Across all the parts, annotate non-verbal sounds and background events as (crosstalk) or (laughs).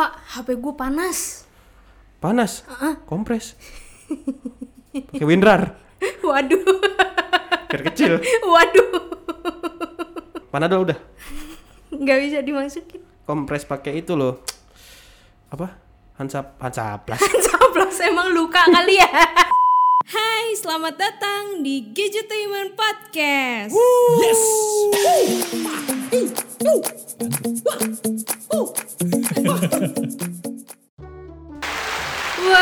HP gue panas. Panas? Kompres? Pakai windrar? (laughs) Waduh. (laughs) Biar kecil? Waduh. Panadol udah? Nggak bisa dimasukin. (laughs) Kompres pakai itu loh Apa? Hansa, (laughs) Hansaplas Caplos emang luka kali ya. (laughs) Hai, selamat datang di Gadgetainment Podcast. Yes!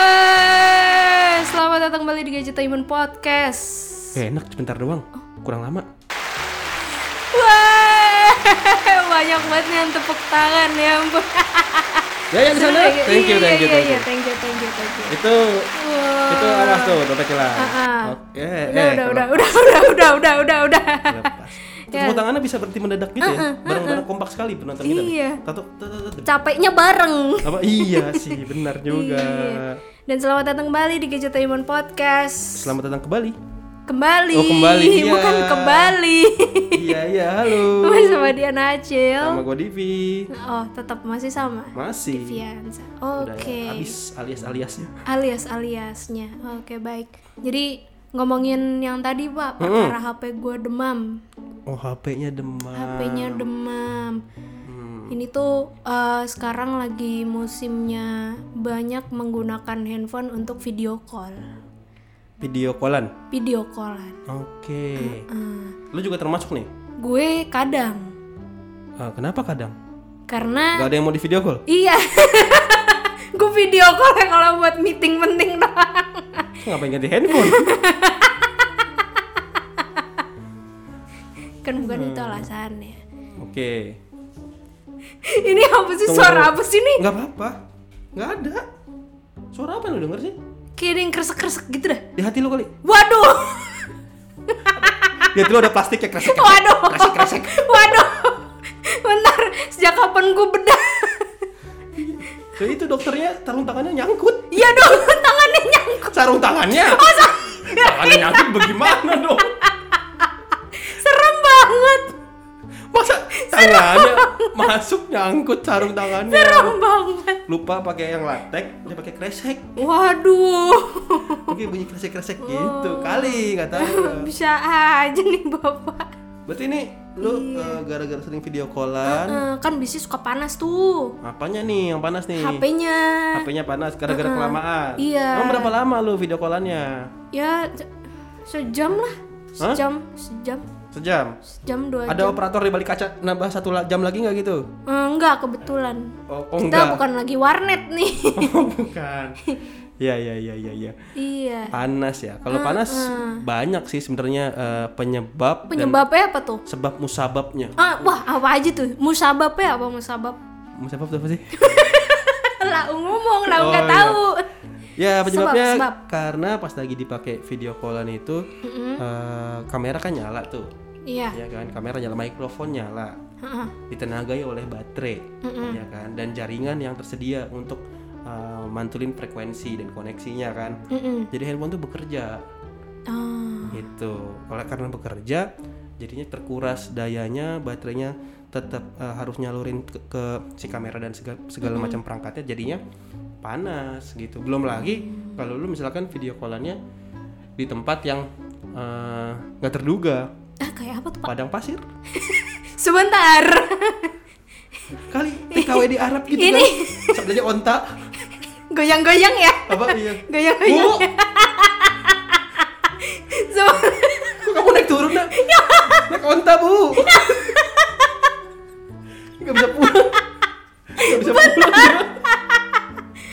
Wah, selamat datang kembali di Gadgetainment Podcast. Gak enak, sebentar doang Kurang lama Wah, (laughs) banyak banget nih yang tepuk tangan ya. ampun. (laughs) Ya yang di sana Iya, Thank you, iya, thank you, iya, thank you iya, thank you, thank you, thank you. Itu Wah. Itu awas tuh, dompet hilang Ah. Oke Udah, eh, udah, udah, udah, udah, udah, udah, udah, udah. Ya, Lepas Tepuk tangannya bisa berhenti mendadak gitu ya Bareng-bareng kompak sekali penonton kita nih. Iya. Tatuk, tut, tut, tut. Capeknya bareng. Apa? Iya sih, benar juga Dan selamat datang kembali di Gadgetainment Podcast. Selamat datang kembali Kembali. Oh, kembali, iya. Bukan kembali. Iya, iya, halo Masih sama dia Acil. Sama gue Divi Oh, tetap masih sama. Masih Fianza. Udah Oke. habis alias-aliasnya Alias-aliasnya. Oke, baik. Jadi ngomongin yang tadi, Pak, perkara HP gua demam. Oh HP-nya demam HP-nya demam. Ini tuh eh, sekarang lagi musimnya banyak menggunakan handphone untuk video call, Video callan video callan. Oke Eh, Lu juga termasuk nih gue kadang Ah, Kenapa kadang? karena Gak ada yang mau di video call? iya, (laughs) gue video call ya kalau buat meeting penting doang. Ngapain ganti handphone? (laughs) Kan bukan itu alasannya. (laughs) Oke Ini apa sih Tunggu, suara tunggu. apa sih nih? nggak apa-apa nggak ada Suara apa yang lu denger sih? Kayak ada yang kresek-kresek gitu dah. Di hati lu kali Waduh, (laughs) Di hati lu ada plastik ya kresek waduh, waduh. Bentar, sejak kapan gue bedah? (laughs) So, itu dokternya sarung tangannya nyangkut Iya dong, (laughs) tangannya nyangkut. Sarung (laughs) Oh, tangannya? tangannya nyangkut bagaimana dong? Serem banget. Masa tangannya masuk nyangkut sarung tangannya? Serem banget. Lupa pakai yang latek, dia pakai kresek Waduh. (laughs) Mungkin bunyi kresek-kresek gitu Oh. kali, nggak (laughs) tahu. Bisa aja nih Bapak. Berarti ini lu Iya. eh, gara-gara sering video callan, Eh, kan bisi suka panas tuh. apanya nih yang panas nih? HP-nya. HP-nya panas gara-gara kelamaan. Iya. Emang berapa lama lu video callannya? Ya se- sejam lah. Hah? Sejam, sejam, Sejam. sejam dua Ada jam. operator di balik kaca nambah satu la- jam lagi nggak gitu? Eh, enggak kebetulan. Oh, oh Kita enggak. bukan lagi warnet nih. (laughs) (laughs) Oh, bukan. Iya iya iya iya iya. iya. Panas ya. Kalau panas banyak sih sebenarnya eh, penyebab dan Penyebabnya apa tuh? sebab musababnya. Ah, wah, apa aja tuh? Musababnya apa musabab? (laughs) Musabab itu apa sih? lah ngomong lah Oh, nggak iya. tahu. Ya penyebabnya sebab. karena pas lagi dipakai video callan itu eh, kamera kan nyala tuh, Iya. ya kan kamera nyala, mikrofon nyala, Heeh. ditenagai oleh baterai, ya kan dan jaringan yang tersedia untuk eh, mantulin frekuensi dan koneksinya kan. Mm-mm. Jadi handphone tuh bekerja Ah, gitu. Oleh karena bekerja, jadinya terkuras dayanya, baterainya tetap eh, harus nyalurin ke, ke si kamera dan segala, segala macam perangkatnya, jadinya panas gitu. Belum lagi kalau lu misalkan video callannya di tempat yang eh, nggak terduga, ah, kayak apa tuh pak? padang pasir, Sebentar. (laughs) kali TKW di Arab gitu Ini. kan, sebenarnya onta Goyang-goyang ya. apa iya. Goyang-goyang. Bu, Seben- kok kamu naik turun nak? Naik onta bu. Gak bisa pulang. Gak bisa pulang. ya.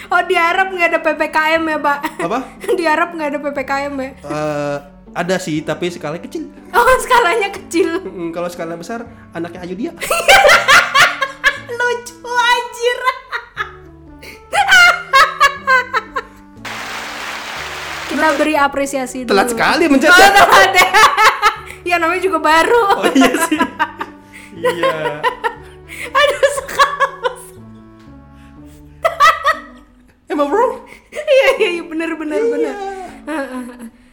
Oh di Arab nggak ada ppkm ya pak? Apa? Di Arab nggak ada ppkm ya? Eh, ada sih, tapi skala kecil. Oh skalanya kecil. (laughs) Mm, kalau skala besar, anaknya Ayu dia. Lucu anjir. (laughs) Kita beri apresiasi dulu. (laughs) Telat sekali Oh, mencetak. telat ya. (laughs) ya namanya juga baru. Oh (laughs) iya sih. iya. (laughs) Aduh skala. Am I wrong? Iya iya iya, bener bener bener.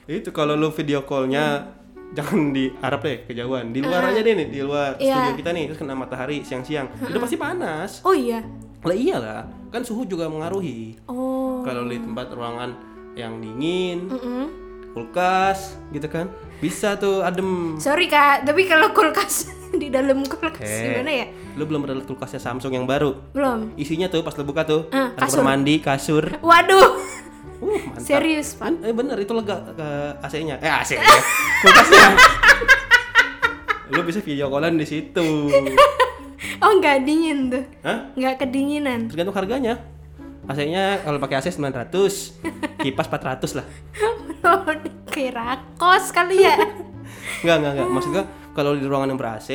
Itu kalau lu video call-nya jangan di Arab ya, deh, Ah. kejauhan. Di luar aja deh nih, di luar Iya. studio kita nih, terus kena matahari siang-siang. Itu pasti panas. Oh iya. lah iyalah kan suhu juga mengaruhi Oh. kalau di tempat ruangan yang dingin Mm-mm. kulkas gitu kan bisa tuh adem Sorry kak, tapi kalau kulkas (laughs) di dalam kulkas Eh. gimana ya? lu belum pernah liat kulkasnya Samsung yang baru Belum. isinya tuh pas lu buka tuh Eh, ada kasur. kamar mandi kasur Waduh, uh mantap serius pak. Man- eh bener itu lega ke AC-nya eh AC-nya kulkasnya lu bisa video callan di situ Oh nggak dingin tuh, Hah? nggak kedinginan. (laughs) tergantung harganya AC-nya kalau pakai AC 900 kipas 400 lah Kira Oh, kos kali (laughs) ya. Enggak, enggak, enggak. Maksud gua kalau di ruangan yang ber-AC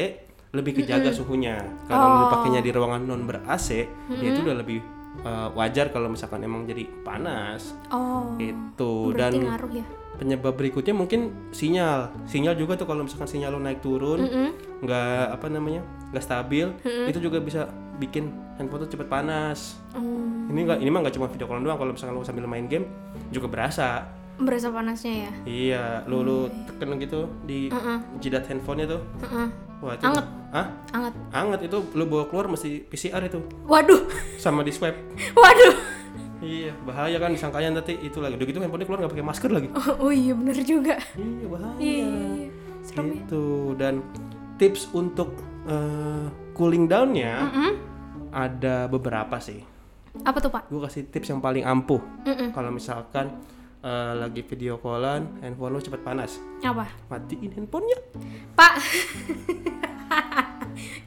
lebih kejaga suhunya. Kalau Oh. lu pakainya di ruangan non ber-AC, ya itu udah lebih uh, wajar kalau misalkan emang jadi panas Oh. gitu dan Berarti ngaruh ya. penyebab berikutnya mungkin sinyal. Sinyal juga tuh kalau misalkan sinyal lu naik turun, Mm-mm. nggak apa namanya? nggak stabil, itu juga bisa bikin handphone tuh cepet panas. Hmm, Ini enggak ini mah nggak cuma video call doang kalau misalkan lu sambil main game juga berasa. berasa panasnya ya. Iya, lu lu tekan gitu di jidat handphonenya tuh. Heeh. Wah, itu Anget. Hah? Anget. Anget itu lu bawa keluar mesti PCR itu Waduh, (laughs) sama di swab. waduh. (laughs) Iya, bahaya kan disangkanya nanti itu lagi. Udah gitu handphonenya keluar nggak pakai masker lagi. Oh, oh iya bener juga. Iya, bahaya. Iya, iya, iya. Serem ya. Gitu. Dan tips untuk eh, cooling down-nya ada beberapa sih. Apa tuh pak? Gue kasih tips yang paling ampuh. Mm-mm. Kalau misalkan eh, lagi video callan, handphone lu cepet panas. Apa? Matiin handphonenya. Pak. (laughs)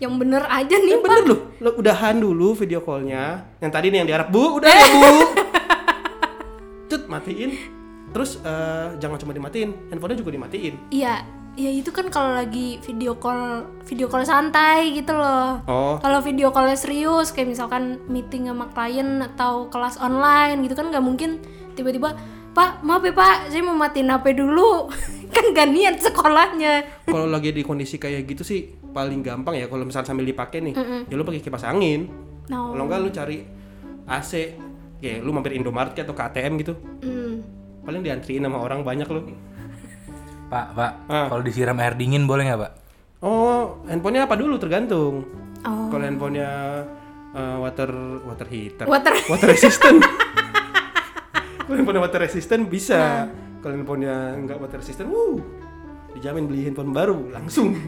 Yang bener aja nih Yang Iya, pak. Eh, bener loh, lo udahan dulu video callnya. Yang tadi nih yang diharap bu, udah Eh. ya (laughs) bu. Cut matiin. Terus eh, jangan cuma dimatiin, handphonenya juga dimatiin. Iya, ya itu kan kalau lagi video call, video call santai gitu loh. Oh, Kalau video call serius kayak misalkan meeting sama klien atau kelas online gitu kan nggak mungkin tiba-tiba Pak, maaf ya Pak, saya mau matiin HP dulu. (laughs) kan gak niat sekolahnya. kalau lagi di kondisi kayak gitu sih paling gampang ya kalau misalnya sambil dipakai nih, ya lo pakai kipas angin. No. Kalau enggak lo cari AC, kayak lu mampir Indomaret kayak atau KTM gitu. Hmm. Paling diantriin sama orang banyak lo. Pak, Pak, Ah. kalau disiram air dingin boleh nggak, Pak? Oh, handphonenya apa dulu tergantung. Oh. Kalau handphonenya eh, water water heater, Water- resistant. (laughs) Kalau handphonenya water Nah. resistant bisa. Kalau handphonenya nggak water resistant, wuh, dijamin beli handphone baru (laughs) langsung.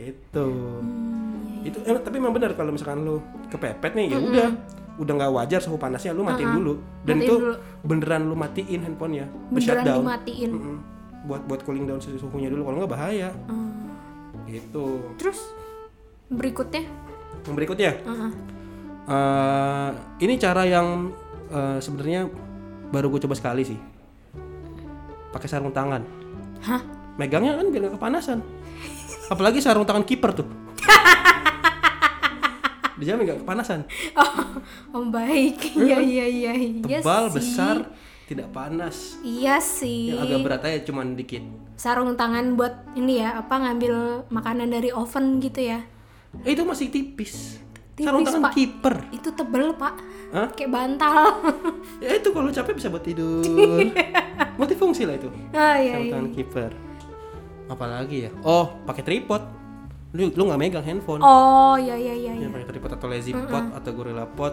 gitu. Hmm, iya, Itu eh, tapi memang benar kalau misalkan lu kepepet nih ya udah udah nggak wajar suhu panasnya lu matiin dulu dan Matiin itu dulu. beneran lu matiin handphonenya Di Beneran shutdown. dimatiin. Mm-mm. buat buat cooling down suhu- suhunya dulu kalau nggak bahaya Mm. gitu Terus berikutnya? (laughs) yang berikutnya Heeh. eh, ini cara yang eh, sebenarnya baru gue coba sekali sih pakai sarung tangan Hah? megangnya kan biar nggak kepanasan apalagi sarung tangan kiper (laughs) tuh dijamin nggak kepanasan Oh, baik. (laughs) Iya, iya, iya. Iya tebal sih. besar tidak panas Iya sih. yang agak berat aja cuman dikit Sarung tangan buat ini ya, apa ngambil makanan dari oven gitu ya. eh, itu masih tipis, Tipis, sarung Pak. tangan kiper Itu tebel, Pak. Hah? Kayak bantal. (laughs) ya itu kalau capek bisa buat tidur multifungsi lah itu ah, iya, sarung iya. tangan kiper apalagi ya oh pakai tripod lu lu nggak megang handphone Oh, iya, iya, iya. ya, iya. pakai tripod atau lazy pot atau gorilla pot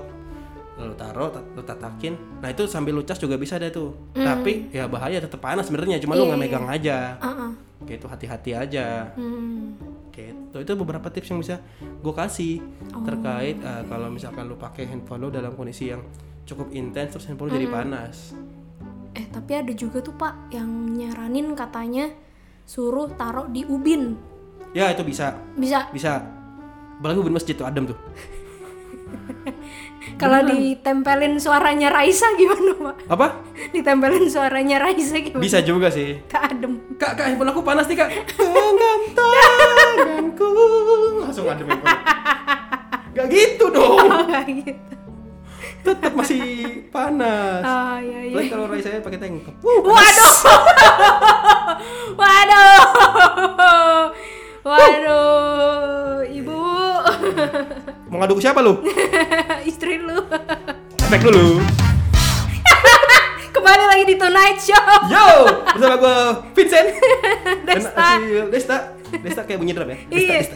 lu taruh tat- lu tatakin nah itu sambil lu cas juga bisa deh tuh Mm. tapi ya bahaya tetap panas sebenarnya cuma Iya, lu nggak megang aja Ah, ah. gitu hati-hati aja Hmm. gitu itu beberapa tips yang bisa gue kasih Oh. terkait eh, kalau misalkan lu pakai handphone lu dalam kondisi yang cukup intens terus handphone lu jadi panas Eh, tapi ada juga tuh, Pak, yang nyaranin katanya suruh taruh di ubin. ya itu bisa Bisa bisa apalagi ubin masjid tuh adem tuh kalau ditempelin suaranya Raisa gimana, Pak? apa Ditempelin suaranya Raisa gimana? Bisa juga sih. Kak adem. Kak, kak handphone aku panas nih kak. (laughs) Genggam tanganku. Langsung adem handphone. Gak gitu dong. Oh, nggak gitu. Tetap masih panas. Oh, iya, iya. Lagi kalau Rai saya pakai tank. Waduh. (laughs) Waduh. Waduh. Ibu. (laughs) Mau ngadu ke siapa lu? Istri lu. Back dulu. Kembali lagi di Tonight Show. Yo, bersama gue Vincent. Dan Desta. Asil. Desta. Desta kayak bunyi drum ya. Desta,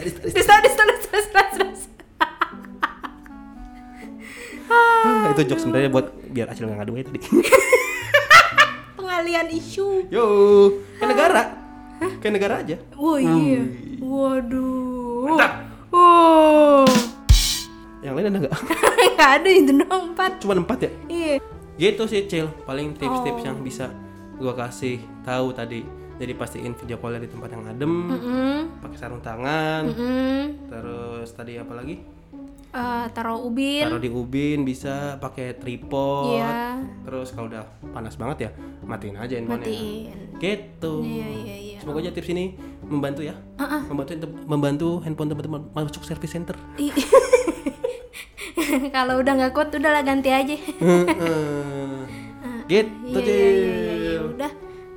Iya. Desta, Desta, Desta. Desta, desta, desta, desta, desta. Ah, itu jokes sebenarnya buat biar Acil nggak ngadu aja (laughs) tadi. Pengalian isu. Yo, kayak negara. Kayak negara aja. Wah iya. Waduh. Mantap. Oh. (laughs) Yang lain ada nggak? Enggak ada itu dong empat. Cuma empat ya? Iya. Gitu sih, Cil. Paling tips-tips Oh. yang bisa gua kasih tahu tadi. Jadi pastiin video call di tempat yang adem, Mm, pakai sarung tangan, mm. terus tadi apa lagi? Eh, taruh ubin. Taruh di ubin bisa pakai tripod. Iya. Terus kalau udah panas banget ya, matiin aja handphonenya. Matiin. Gitu. Iya iya (laughs) iya. Semoga aja tips ini membantu ya. Membantu membantu handphone teman-teman masuk (laughs) service center. Ih. Kalau udah nggak kuat udahlah ganti aja. (laughs) Heeh. gitu Iya deh. iya iya iya, iya. udah.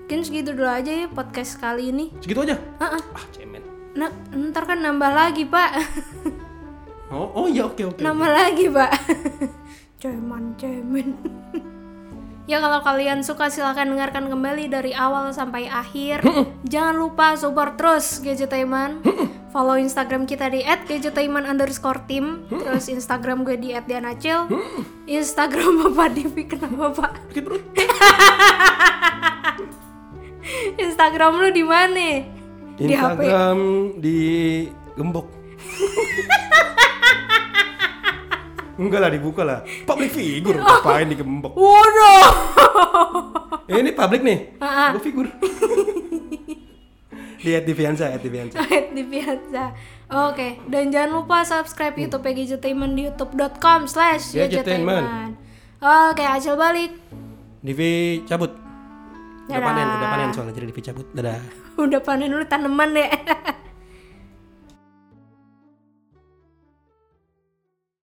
Mungkin segitu dulu aja ya podcast kali ini. Segitu aja. Heeh. Ah, cemen. Nah, ntar kan nambah lagi, Pak. (laughs) Oh, oh ya oke oke. nambah lagi, Pak. (laughs) cemen, cemen. (laughs) ya kalau kalian suka silahkan dengarkan kembali dari awal sampai akhir. Jangan lupa support terus Gadgetaiman. Follow Instagram kita di @gadgetaiman underscore tim. Terus Instagram gue di @dianacil. Instagram Bapak Devi kenapa Pak? Sakit perut. Instagram lu di mana? Di HP. Instagram di gembok. Enggak lah dibuka lah. Public figure Oh. ngapain di gembok? Eh, Waduh. (laughs) Ini public nih. Ah, ah. Gue (laughs) figur. di Ativiansa, Ativiansa. di Piazza. Oke, dan jangan lupa subscribe YouTube Gadgetainment di youtube.com slash Gadgetainment. Gadgetainment. Oke, hasil balik. (laughs) Divi cabut. Dadah. Udah panen, udah panen soalnya jadi Divi cabut. Dadah. (laughs) Udah panen dulu tanaman ya.